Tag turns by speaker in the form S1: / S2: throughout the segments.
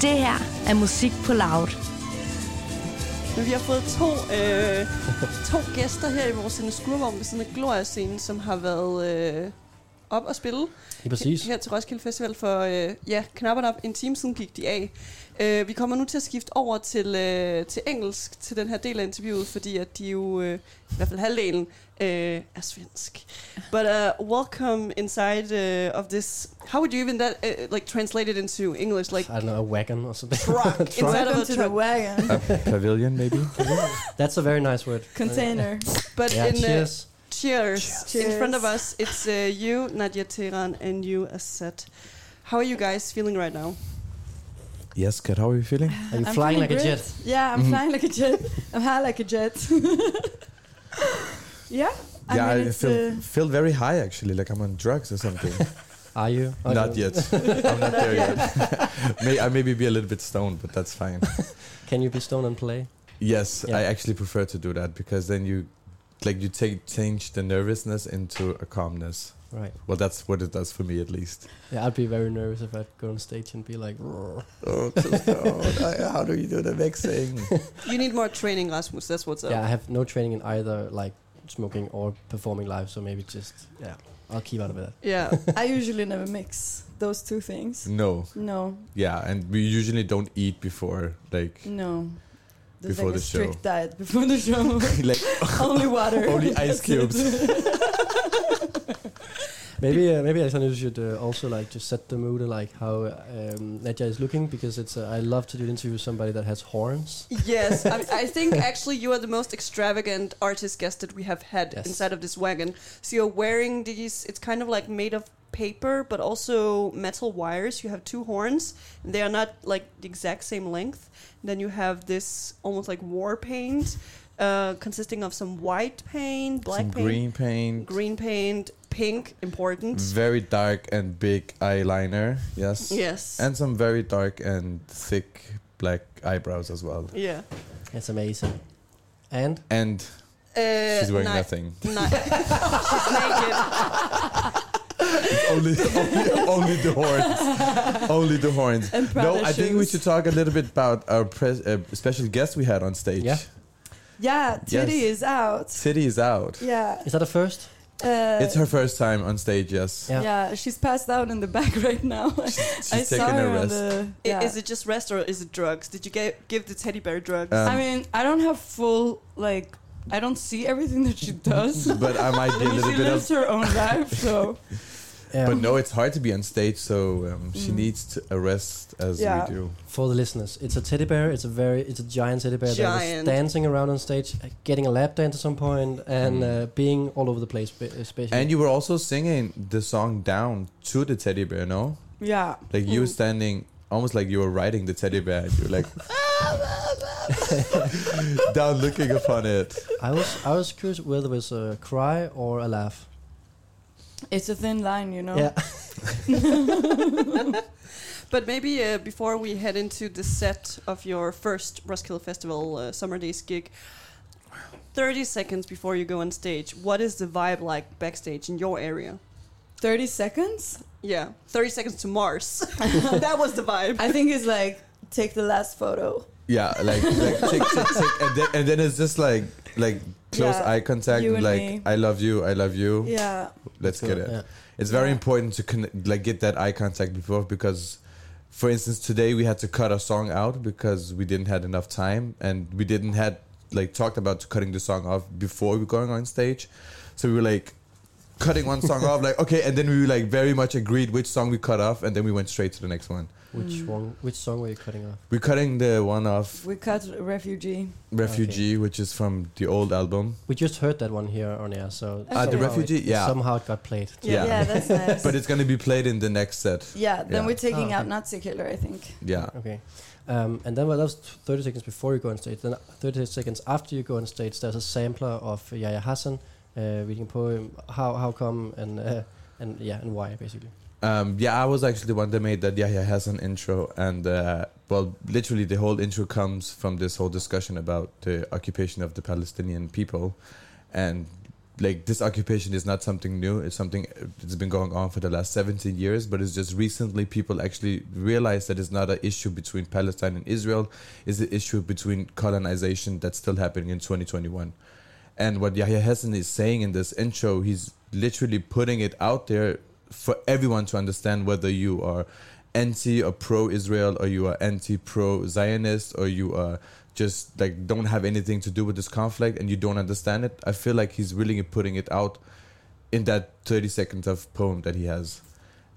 S1: Det her er musik på loud.
S2: Men vi har fået to, øh, to gæster her i vores sende skurvogn ved siden af Gloria-scenen, som har været øh, op og spille
S3: Lige præcis.
S2: her til Roskilde Festival for, øh, ja, knap og nap en time siden gik de af. Øh, vi kommer nu til at skifte over til, øh, til engelsk til den her del af interviewet, fordi at de jo, øh, i hvert fald halvdelen, øh, er svensk. But uh, welcome inside uh, of this, how would you even that, uh, like translate it into English? Like,
S3: I don't know, a wagon or something.
S2: Truck. Inside of a
S4: Welcome to the
S2: truck.
S4: wagon.
S5: Pavilion, maybe?
S3: That's a very nice word.
S4: Container.
S2: but
S3: Yeah,
S2: in uh,
S3: cheers.
S2: Cheers. In
S4: Cheers.
S2: front of us, it's uh, you, Nadia Tehran, and you, Asset. How are you guys feeling right now?
S5: Yes, good. How are you feeling?
S3: Are you
S4: I'm
S3: flying
S4: feeling
S3: like a
S4: great.
S3: jet?
S4: Yeah, I'm
S5: Mhm.
S4: flying like a jet. I'm high like a jet. yeah.
S5: yeah,
S4: I mean,
S5: I
S4: it's,
S5: feel
S4: uh,
S5: feel very high actually, like I'm on drugs or something.
S3: Are you? Are
S5: Not
S3: you?
S5: yet. I'm not there yet. May, I maybe be a little bit stoned, but that's fine.
S3: Can you be stoned and play?
S5: Yes,
S3: Yeah.
S5: I actually prefer to do that because then you, like, you take change the nervousness into a calmness.
S3: Right.
S5: Well, that's what it does for me at least.
S3: Yeah, I'd be very nervous if I'd go on stage and be like, "Roar."
S5: Oh, so stoned. I- how do you do the mixing?
S2: You need more training, Rasmus. That's what's up.
S3: yeah, I have no training in either like smoking or performing live, so maybe just yeah, I'll keep out of it.
S2: Yeah.
S4: I usually never mix those two things.
S5: No,
S4: No,
S5: yeah, and we usually don't eat before, like,
S4: no. There's
S5: Before
S4: like a
S5: the show.
S4: strict diet before the show.
S5: like
S4: Only water.
S5: only ice
S4: That's it.
S5: cubes.
S3: Maybe uh, maybe Alexander, you should uh, also like just set the mood and like how um, Nadja is looking because it's uh, I love to do an interview with somebody that has horns.
S2: yes, I, I think actually you are the most extravagant artist guest that we have had
S3: Yes.
S2: inside of this wagon. So you're wearing these, it's kind of like made of paper, but also metal wires. You have two horns, and they are not like the exact same length. then you have this almost like war paint. Uh, consisting of some white paint, black
S5: Some
S2: paint,
S5: green paint.
S2: green paint, pink, important.
S5: very dark and big eyeliner. Yes.
S2: yes.
S5: And some very dark and thick black eyebrows as well.
S2: yeah.
S3: It's amazing. And
S5: And
S2: Uh,
S5: she's wearing
S2: ni-
S5: nothing.
S2: ni- she's naked.
S5: only, only, only the horns. Only the horns.
S4: And Prada
S5: No, I think we
S4: shoes.
S5: should talk a little bit about our pres- uh, special guest we had on stage.
S3: Yeah.
S4: Yeah, Titty
S5: Yes.
S4: is out.
S5: City is out.
S4: Yeah.
S3: is that a first?
S4: Uh,
S5: It's her first time on stage, yes.
S3: Yeah.
S4: Yeah. she's passed out in the back right now.
S5: She's
S4: I saw
S5: taking
S4: her
S5: a
S4: on
S5: rest.
S4: the.
S2: I-
S4: Yeah.
S2: Is it just rest or is it drugs? Did you get, give the teddy bear drugs?
S5: Um,
S4: I mean, I don't have full like. I don't see everything that she does.
S5: but I might be a
S4: she
S5: little bit of
S4: lives her own life, so
S3: Yeah.
S5: But no, it's hard to be on stage, so um, she
S4: Mm.
S5: needs to a rest as
S4: Yeah.
S5: we do.
S3: For the listeners, it's a teddy bear. It's a very, it's a giant teddy bear that
S2: Giant.
S3: is dancing around on stage, uh, getting a lap dance at some point, and
S5: Mm.
S3: uh, being all over the place, ba- uh, especially.
S5: And you were also singing the song down to the teddy bear, no?
S4: yeah.
S5: Like you were
S2: Mm.
S5: standing almost like you were riding the teddy bear. You were like down looking upon it.
S3: I was, I was curious whether it was a cry or a laugh.
S4: It's a thin line, you know.
S3: Yeah.
S2: but maybe uh, before we head into the set of your first Roskilde Festival uh, Summer Days gig, 30 seconds before you go on stage, what is the vibe like backstage in your area?
S4: Thirty seconds.
S2: Yeah, 30 seconds to Mars. that was the vibe.
S4: I think it's like take the last photo.
S5: Yeah, like, like tick, tick, tick, and then, and then it's just like like close
S4: Yeah,
S5: eye contact,
S4: you and
S5: like
S4: me.
S5: I love you, I love you.
S4: Yeah.
S5: Let's get it.
S3: Yeah.
S5: It's very
S4: Yeah.
S5: important to connect, like get that eye contact before because, for instance, today we had to cut a song out because we didn't had enough time and we didn't had like talked about cutting the song off before we going on stage, so we were like cutting one song off like okay and then we like very much agreed which song we cut off and then we went straight to the next one.
S3: Which
S4: Mm.
S3: one? Which song were you cutting off?
S5: We're cutting the one off
S4: We cut a refugee.
S5: Refugee, which is from the old album,
S3: We just heard that one here on air, so
S4: Ah, the
S3: somehow
S5: Refugee?
S3: it,
S5: Yeah.
S3: somehow it got played.
S5: Yeah.
S4: Yeah, that's nice.
S5: but it's gonna be played in the next set.
S4: yeah, then
S5: Yeah.
S4: we're taking
S3: Oh,
S4: out
S3: okay.
S4: Nazi killer, I think.
S5: Yeah,
S3: Okay, um, and then well, that was 30 seconds before you go on stage. Then 30 seconds after you go on stage, there's a sampler of Yahya Hassan uh, reading a poem. How how come and uh, and yeah and why basically.
S5: Um, yeah, I was actually the one that made that Yahya Hassan intro, and uh, well, literally the whole intro comes from this whole discussion about the occupation of the Palestinian people, and like this occupation is not something new. It's something that's been going on for the last 17 years, but it's just recently people actually realize that it's not an issue between Palestine and Israel. It's an issue between colonization that's still happening in 2021. And what Yahya Hessen is saying in this intro, he's literally putting it out there for everyone to understand whether you are anti or pro Israel or you are anti pro Zionist or you are just like don't have anything to do with this conflict and you don't understand it. I feel like he's really putting it out in that 30 seconds of poem that he has.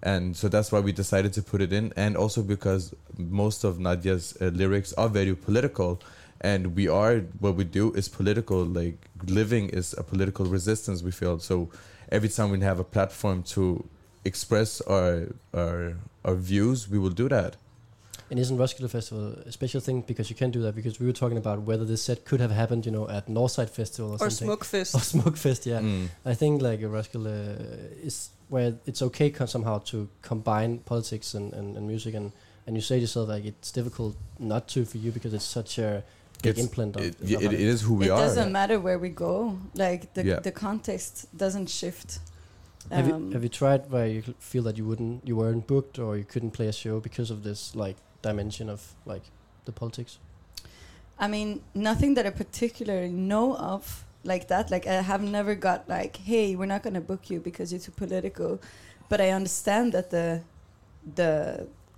S5: And so that's why we decided to put it in, and also because most of Nadia's uh, lyrics are very political, and we are what we do is political. Like living is a political resistance. We feel so every time we have a platform to express our our our views, we will do that.
S3: And isn't Roskilde Festival a special thing because you can do that? Because we were talking about whether this set could have happened, you know, at Northside Festival or,
S2: Or
S3: something.
S2: Smukfest.
S3: Or Smukfest, yeah.
S5: Mm.
S3: I think like a Roskilde is where it's okay co- somehow to combine politics and, and, and music and, and you say to yourself like it's difficult not to for you because it's such a big
S5: It's-
S3: implant of,
S5: It,
S3: of
S5: it, it
S3: having-
S5: is who we
S4: it
S5: are.
S4: doesn't matter where we go. Like the
S5: Yeah.
S4: the context doesn't shift.
S2: Um,
S4: Um,
S3: Have you have you tried where you cl- feel that you wouldn't you weren't booked or you couldn't play a show because of this like dimension of like the politics?
S4: I mean, nothing that I particularly know of like that. Like I have never got like, hey, we're not going to book you because you're too political. But I understand that the the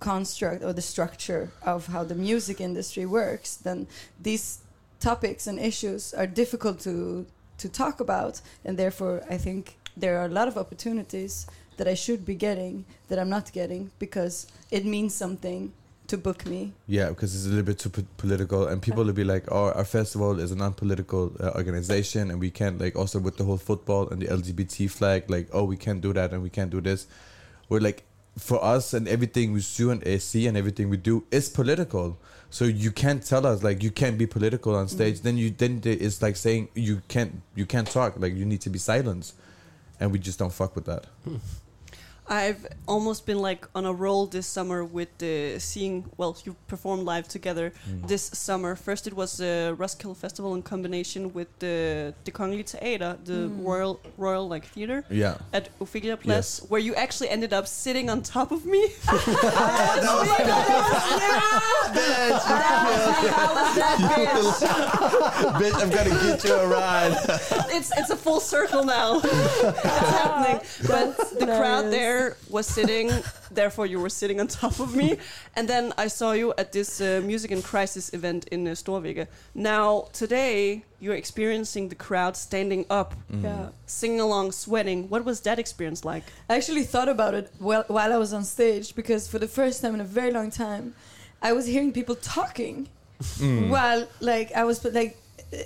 S4: construct or the structure of how the music industry works, then these topics and issues are difficult to to talk about, and therefore I think there are a lot of opportunities that I should be getting that I'm not getting because it means something to book me
S5: Yeah, because it's a little bit too p- political, and people will be like, "Oh, our festival is a non-political uh, organization, and we can't like also with the whole football and the LGBT flag, like, oh, we can't do that and we can't do this." We're like, for us and everything we do and uh, see and everything we do is political. So you can't tell us like you can't be political on stage. Then you then they- it's like saying you can't you can't talk. Like you need to be silent, and we just don't fuck with that.
S2: I've almost been like on a roll this summer with uh, seeing, well, you performed live together this summer. First, it was the Roskilde Festival in combination with the the Kongli Theater, the
S4: Mm.
S2: Royal Royal like Theater
S5: Yeah.
S2: at Ophelia Place, where you actually ended up sitting on top of me.
S5: Bitch, I'm gonna get you a ride.
S2: it's it's a full circle now. it's happening. But the crowd
S4: hilarious.
S2: there was sitting. Therefore, you were sitting on top of me. And then I saw you at this uh, music and crisis event in uh, Storvika. Now today, you're experiencing the crowd standing up,
S4: Yeah.
S2: singing along, sweating. What was that experience like?
S4: I actually thought about it while, while I was on stage because for the first time in a very long time, I was hearing people talking
S5: Mm.
S4: while like I was like,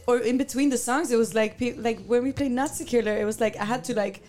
S4: or in between the songs, it was like pe- like when we played Nazi Killer, it was like I had to like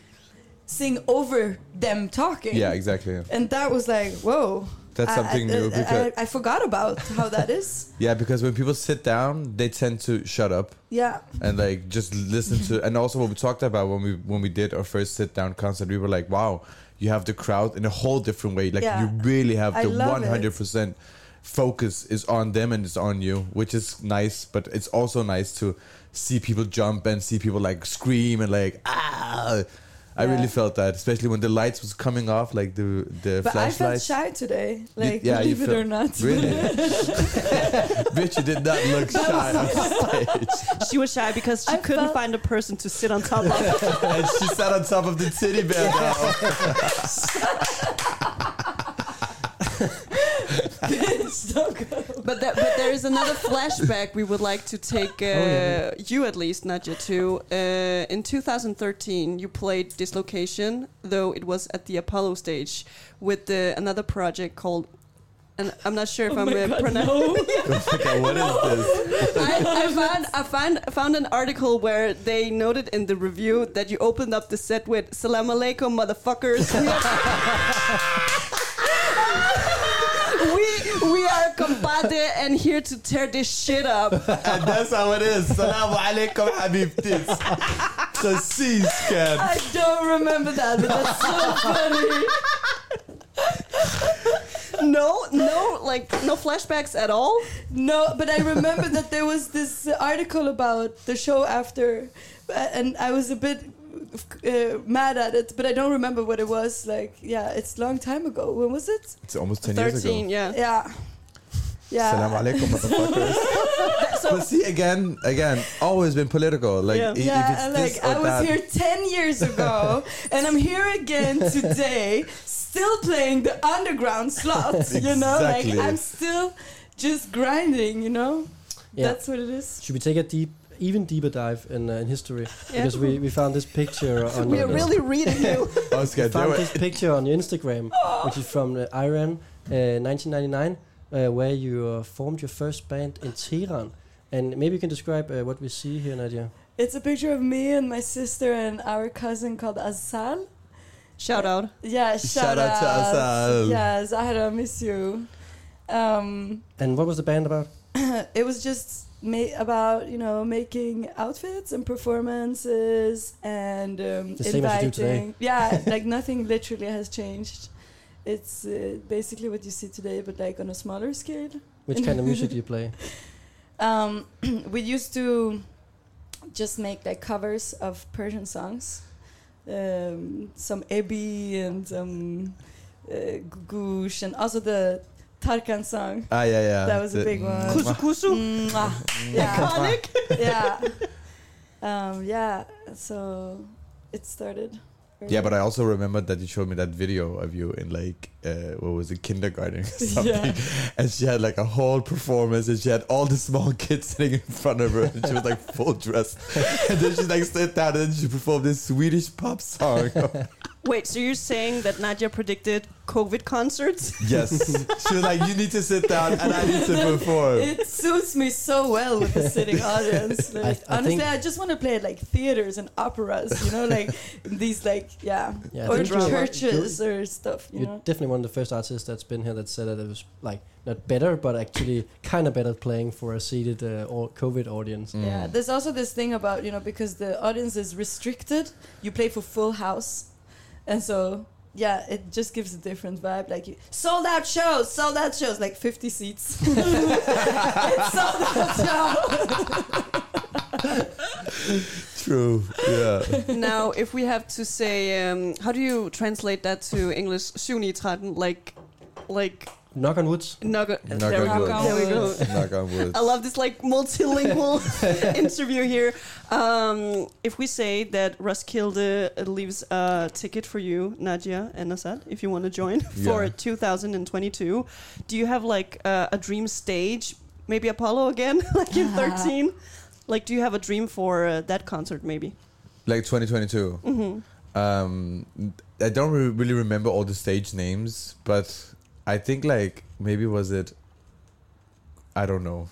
S4: sing over them talking.
S5: Yeah, exactly.
S4: And that was like whoa.
S5: That's
S4: I-
S5: something
S4: I,
S5: new
S4: I,
S5: because-
S4: I, I forgot about how that is.
S5: Yeah, because when people sit down, they tend to shut up
S4: Yeah.
S5: and like just listen to. And also, what we talked about when we when we did our first sit down concert, we were like, "Wow, you have the crowd in a whole different way. Like
S4: Yeah.
S5: you really have
S4: I
S5: the
S4: love
S5: one
S4: it.
S5: hundred percent focus is on them and it's on you, which is nice. But it's also nice to see people jump and see people like scream and like ah." I
S4: Yeah.
S5: really felt that, especially when the lights was coming off, like the the
S4: But I felt
S5: flashlights.
S4: shy today,
S5: Did-
S4: like
S5: yeah, you
S4: believe it
S5: felt-
S4: or not.
S5: Really? Bitch, you did not look shy on stage.
S2: She was shy because she
S4: I
S2: couldn't
S4: felt-
S2: find a person to sit on top of.
S5: and she sat on top of the titty bear now.
S4: so good.
S2: but, that, but there is another flashback we would like to take uh,
S3: Oh, yeah.
S2: you at least, Nadja, to. Uh, in 2013, you played Dislocation, though it was at the Apollo stage, with uh, another project called. And I'm not sure if
S3: Oh
S2: I'm uh, pronouncing.
S5: Okay, what is this?
S2: I, I found I found found an article where they noted in the review that you opened up the set with "Salam alaikum, motherfuckers." we we are compadre and here to tear this shit up.
S5: And that's how it is. Salaam alaikum, habib tits. So see, scan.
S4: I don't remember that, but that's so funny.
S2: No, no, like no flashbacks at all.
S4: No, but I remember that there was this article about the show after, uh, and I was a bit uh, mad at it, but I don't remember what it was. Like, yeah, it's long time ago. When was it?
S5: It's almost 10 years ago.
S2: 13, yeah.
S4: Yeah,
S5: Salam
S4: yeah.
S5: alaikum, motherfuckers. but see, again, again, always been political. Like,
S2: Yeah.
S5: i- if
S4: Yeah,
S5: it's
S4: and,
S5: this
S4: like
S5: or
S4: I
S5: that,
S4: was here 10 years ago, and I'm here again today, still playing the underground slots, you know? Like,
S5: Exactly.
S4: I'm still just grinding, you know?
S3: Yeah.
S4: That's what it is.
S3: Should we take a deep, even deeper dive in, uh, in history?
S2: Yeah.
S3: Because we, we found this picture on
S2: We are
S3: on-
S2: really reading you.
S5: I
S3: we
S5: was scared. They
S3: found
S5: were-
S3: this picture on your Instagram, which is from uh, Iran, uh, 1999, uh, where you uh, formed your first band in Tehran. And maybe you can describe uh, what we see here, Nadia.
S4: It's a picture of me and my sister and our cousin called Azal.
S2: Shout out.
S4: Yeah, shout,
S5: Shout out to Azal.
S4: Yeah, Zahra, miss you. Um,
S3: And what was the band about?
S4: it was just ma- about you know making outfits and performances and um,
S3: The same
S4: inviting.
S3: as you do today.
S4: Yeah, like nothing literally has changed. It's uh, basically what you see today, but like on a smaller scale.
S3: Which kind of music do you play?
S4: Um, we used to just make like covers of Persian songs, um, some Ebi and some uh, Gugush, and also the Tarkan song.
S5: Ah, yeah, yeah.
S4: That was a
S5: The-
S4: big one.
S2: Kusu kusu.
S4: Mwah. Yeah.
S2: Iconic.
S4: yeah. Um, yeah. So it started. early.
S5: Yeah, but I also remembered that you showed me that video of you in like uh, what was it, kindergarten or something,
S4: Yeah.
S5: and she had like a whole performance, and she had all the small kids sitting in front of her, and she was like full dressed, and then she like sat down and she performed this Swedish pop song.
S2: Wait, so you're saying that Nadia predicted COVID concerts?
S5: yes, she was like, "You need to sit down, and I need to perform."
S4: it suits me so well with the sitting audience. Like,
S3: I
S4: honestly,
S3: think-
S4: I just want to play at like theaters and operas, you know, like these, like yeah,
S3: Yeah, I
S4: or
S3: think
S2: you're-
S4: churches or stuff, you
S3: You're
S4: know.
S3: definitely one of the first artists that's been here that said that it was like not better, but actually kind of better playing for a seated uh, or COVID audience.
S5: Mm.
S4: Yeah, there's also this thing about you know because the audience is restricted, you play for full house, and so yeah, it just gives a different vibe. Like you, sold out shows, sold out shows, like 50 seats. it's sold out show.
S5: True. Yeah.
S2: now, if we have to say, um, how do you translate that to English? Shunitraten, like, like,
S3: Knock on woods.
S2: knock on-
S5: Knock
S2: there we
S5: on
S2: go.
S4: wood.
S2: There we go.
S5: Knock on wood.
S2: I love this like multilingual interview here. Um, if we say that Roskilde leaves a ticket for you, Nadia and Asad, if you want to join for
S5: Yeah.
S2: 2022, do you have like uh, a dream stage? Maybe Apollo again, like in 13. Like, do you have a dream for uh, that concert? Maybe.
S5: like 2022.
S2: hmm
S5: Um, I don't re- really remember all the stage names, but I think like maybe was it. I don't know.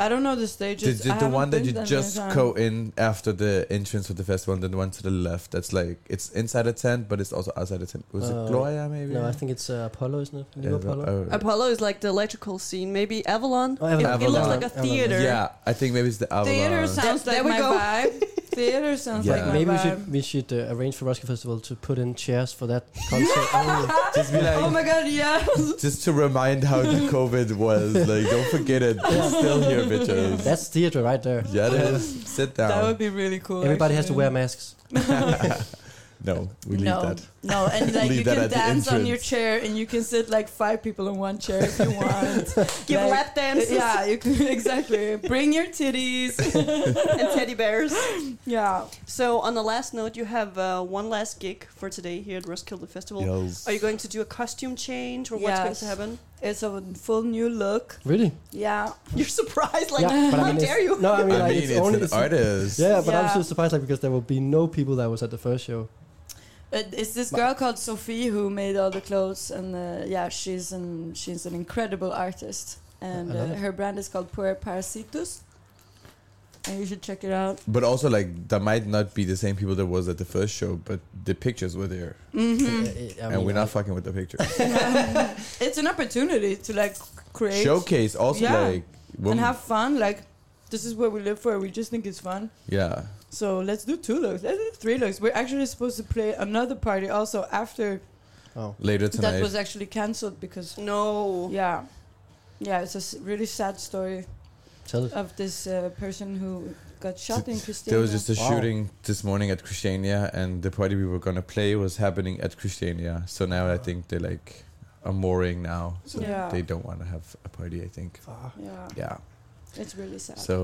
S4: I don't know the stages.
S5: the
S4: I
S5: the, the
S4: haven't
S5: one that
S4: been
S5: you
S4: that many
S5: just
S4: times.
S5: go in after the entrance of the festival, and then the one to the left. That's like it's inside a tent, but it's also outside a tent. Was
S3: Uh,
S5: it Gloria? Maybe.
S3: No, I think it's uh, Apollo, isn't it? New
S5: Yeah,
S3: Apollo.
S5: uh,
S2: Apollo is like the electrical scene. Maybe Avalon.
S3: Oh,
S2: It-
S3: Avalon.
S2: It, looks
S5: Avalon.
S2: like a
S3: Avalon.
S2: theater.
S5: yeah, I think maybe it's the Avalon.
S4: Theater sounds
S2: There-
S4: like
S2: there
S4: my
S2: we go.
S4: vibe. Theater sounds
S5: Yeah.
S4: like my
S3: Maybe we
S4: vibe.
S3: should we should uh, arrange for Roskilde Festival to put in chairs for that concert. only.
S5: Just be
S4: oh my
S5: like,
S4: god, yeah.
S5: just to remind how the COVID was. Like, don't forget it. It's still here, bitches.
S3: That's theater right there.
S5: Yeah, it is. Sit down.
S4: That would be really cool.
S3: Everybody has to
S4: actually.
S3: wear masks.
S5: no, we leave
S4: no,
S5: that.
S4: no, and like
S5: Leave
S4: you
S5: that
S4: can
S5: at the
S4: dance on
S5: entrance.
S4: your chair, and you can sit like five people in one chair if you want.
S2: Give
S4: Like- uh,
S2: lap dances
S4: yeah, you can exactly bring your titties.
S2: and teddy bears.
S4: yeah,
S2: So, on the last note, you have uh, one last gig for today here at Roskilde Festival.
S5: Yes.
S2: Are you going to do a costume change or what's going
S4: Yes.
S2: to happen?
S4: it's a full new look.
S3: Really?
S4: Yeah,
S2: You're surprised, like,
S3: yeah, but
S2: how
S3: it's-
S2: dare you?
S3: No, I mean,
S5: I
S3: like,
S5: mean,
S3: it's,
S5: it's,
S3: only.
S5: an
S3: it's-
S5: artist.
S3: yeah, but I was
S4: Yeah.
S3: just surprised like because there will be no people that was at the first show.
S4: It- Uh, it's this girl called Sophie who made all the clothes, and uh, yeah, she's an she's an incredible artist, and
S3: I love
S4: uh,
S3: it.
S4: her brand is called Puer Parasitus, and you should check it out.
S5: But also, like, that might not be the same people that was at the first show, but the pictures were there.
S4: hmm
S3: Eh, I- I
S5: and
S3: mean,
S5: we're not
S3: I-
S5: fucking with the pictures.
S4: it's an opportunity to like create
S5: Showcase also,
S4: Yeah.
S5: like,
S4: and
S5: women-
S4: have fun. Like, this is what we live for. We just think it's fun.
S5: yeah.
S4: So let's do two looks. Let's do three looks. We're actually supposed to play another party also after
S3: Oh,
S5: Later
S4: that
S5: tonight.
S4: was actually cancelled because
S2: No.
S4: yeah, yeah, it's a s- really sad story.
S3: Tell it.
S4: of this uh, person who got shot in Christiania.
S5: There was just a
S3: Wow.
S5: shooting this morning at Christiania, and the party we were gonna play was happening at Christiania. So now I think they like are mooring now, so
S4: Yeah.
S5: they don't want to have a party. I think.
S3: Fuck.
S4: yeah,
S5: Yeah.
S4: it's really sad.
S5: So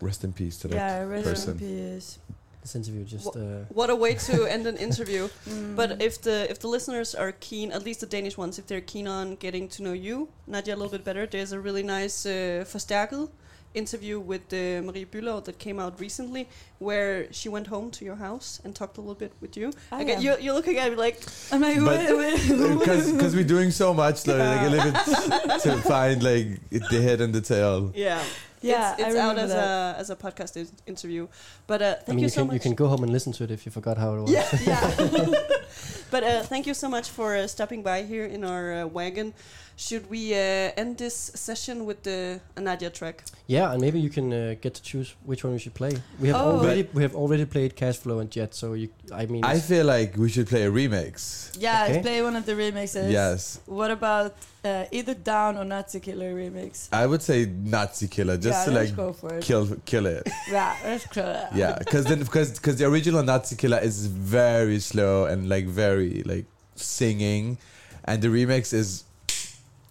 S5: rest in peace to that.
S4: yeah, rest
S5: person.
S4: in peace.
S3: This interview just.
S2: Wha-
S3: Uh,
S2: What a way to end an interview.
S4: Mm.
S2: But if the if the listeners are keen, at least the Danish ones, if they're keen on getting to know you, Nadia, a little bit better, there's a really nice uh, forstærket interview with uh, Marie Bülow that came out recently, where she went home to your house and talked a little bit with you.
S4: I
S2: okay,
S4: am.
S2: you're, you're looking at me like,
S4: I'm like,
S5: But- uh,
S4: wait, wait,
S5: Because we're doing so much, like, like a little bit to find like the head and the tail.
S2: yeah,
S4: yeah,
S2: it's,
S4: I
S2: it's out
S4: remember
S2: as
S4: that.
S2: a as a podcast in- interview. But uh, thank
S3: I mean, you,
S2: you so
S3: can
S2: much.
S3: you can go home and listen to it if you forgot how it was.
S2: Yeah, yeah. but uh, thank you so much for uh, stopping by here in our uh, wagon. Should we uh, end this session with the Nadia track?
S3: Yeah, and maybe you can uh, get to choose which one we should play. We have
S4: Oh.
S3: already we have already played Cash Flow and Jet, so you. I mean,
S5: I
S3: it's-
S5: feel like we should play a remix.
S4: Yeah,
S3: Okay.
S4: play one of the remixes.
S5: Yes.
S4: What about uh, either Down or Nazi Killer remix?
S5: I would say Nazi killer,
S4: yeah,
S5: just
S4: let's
S5: to
S4: go for
S5: like
S4: it.
S5: kill kill it.
S4: yeah, let's kill it.
S5: yeah because then because because the original nazi killer is very slow and like very like singing and the remix is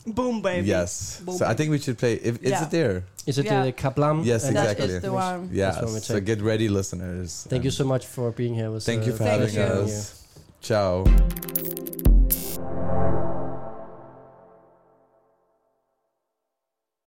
S2: Boom, baby.
S5: yes
S2: Boom.
S5: so i think we should play if is
S4: Yeah.
S5: it there
S3: is it
S4: yeah.
S3: the Kablam?
S5: Yes,
S3: and-
S4: That
S5: Exactly.
S4: is the one.
S5: yeah
S3: That's what we
S5: so
S3: take.
S5: get ready listeners
S3: Thank you so much for being here. It was,
S5: thank you
S3: uh,
S5: for
S4: Thank
S5: having
S4: you.
S5: us ciao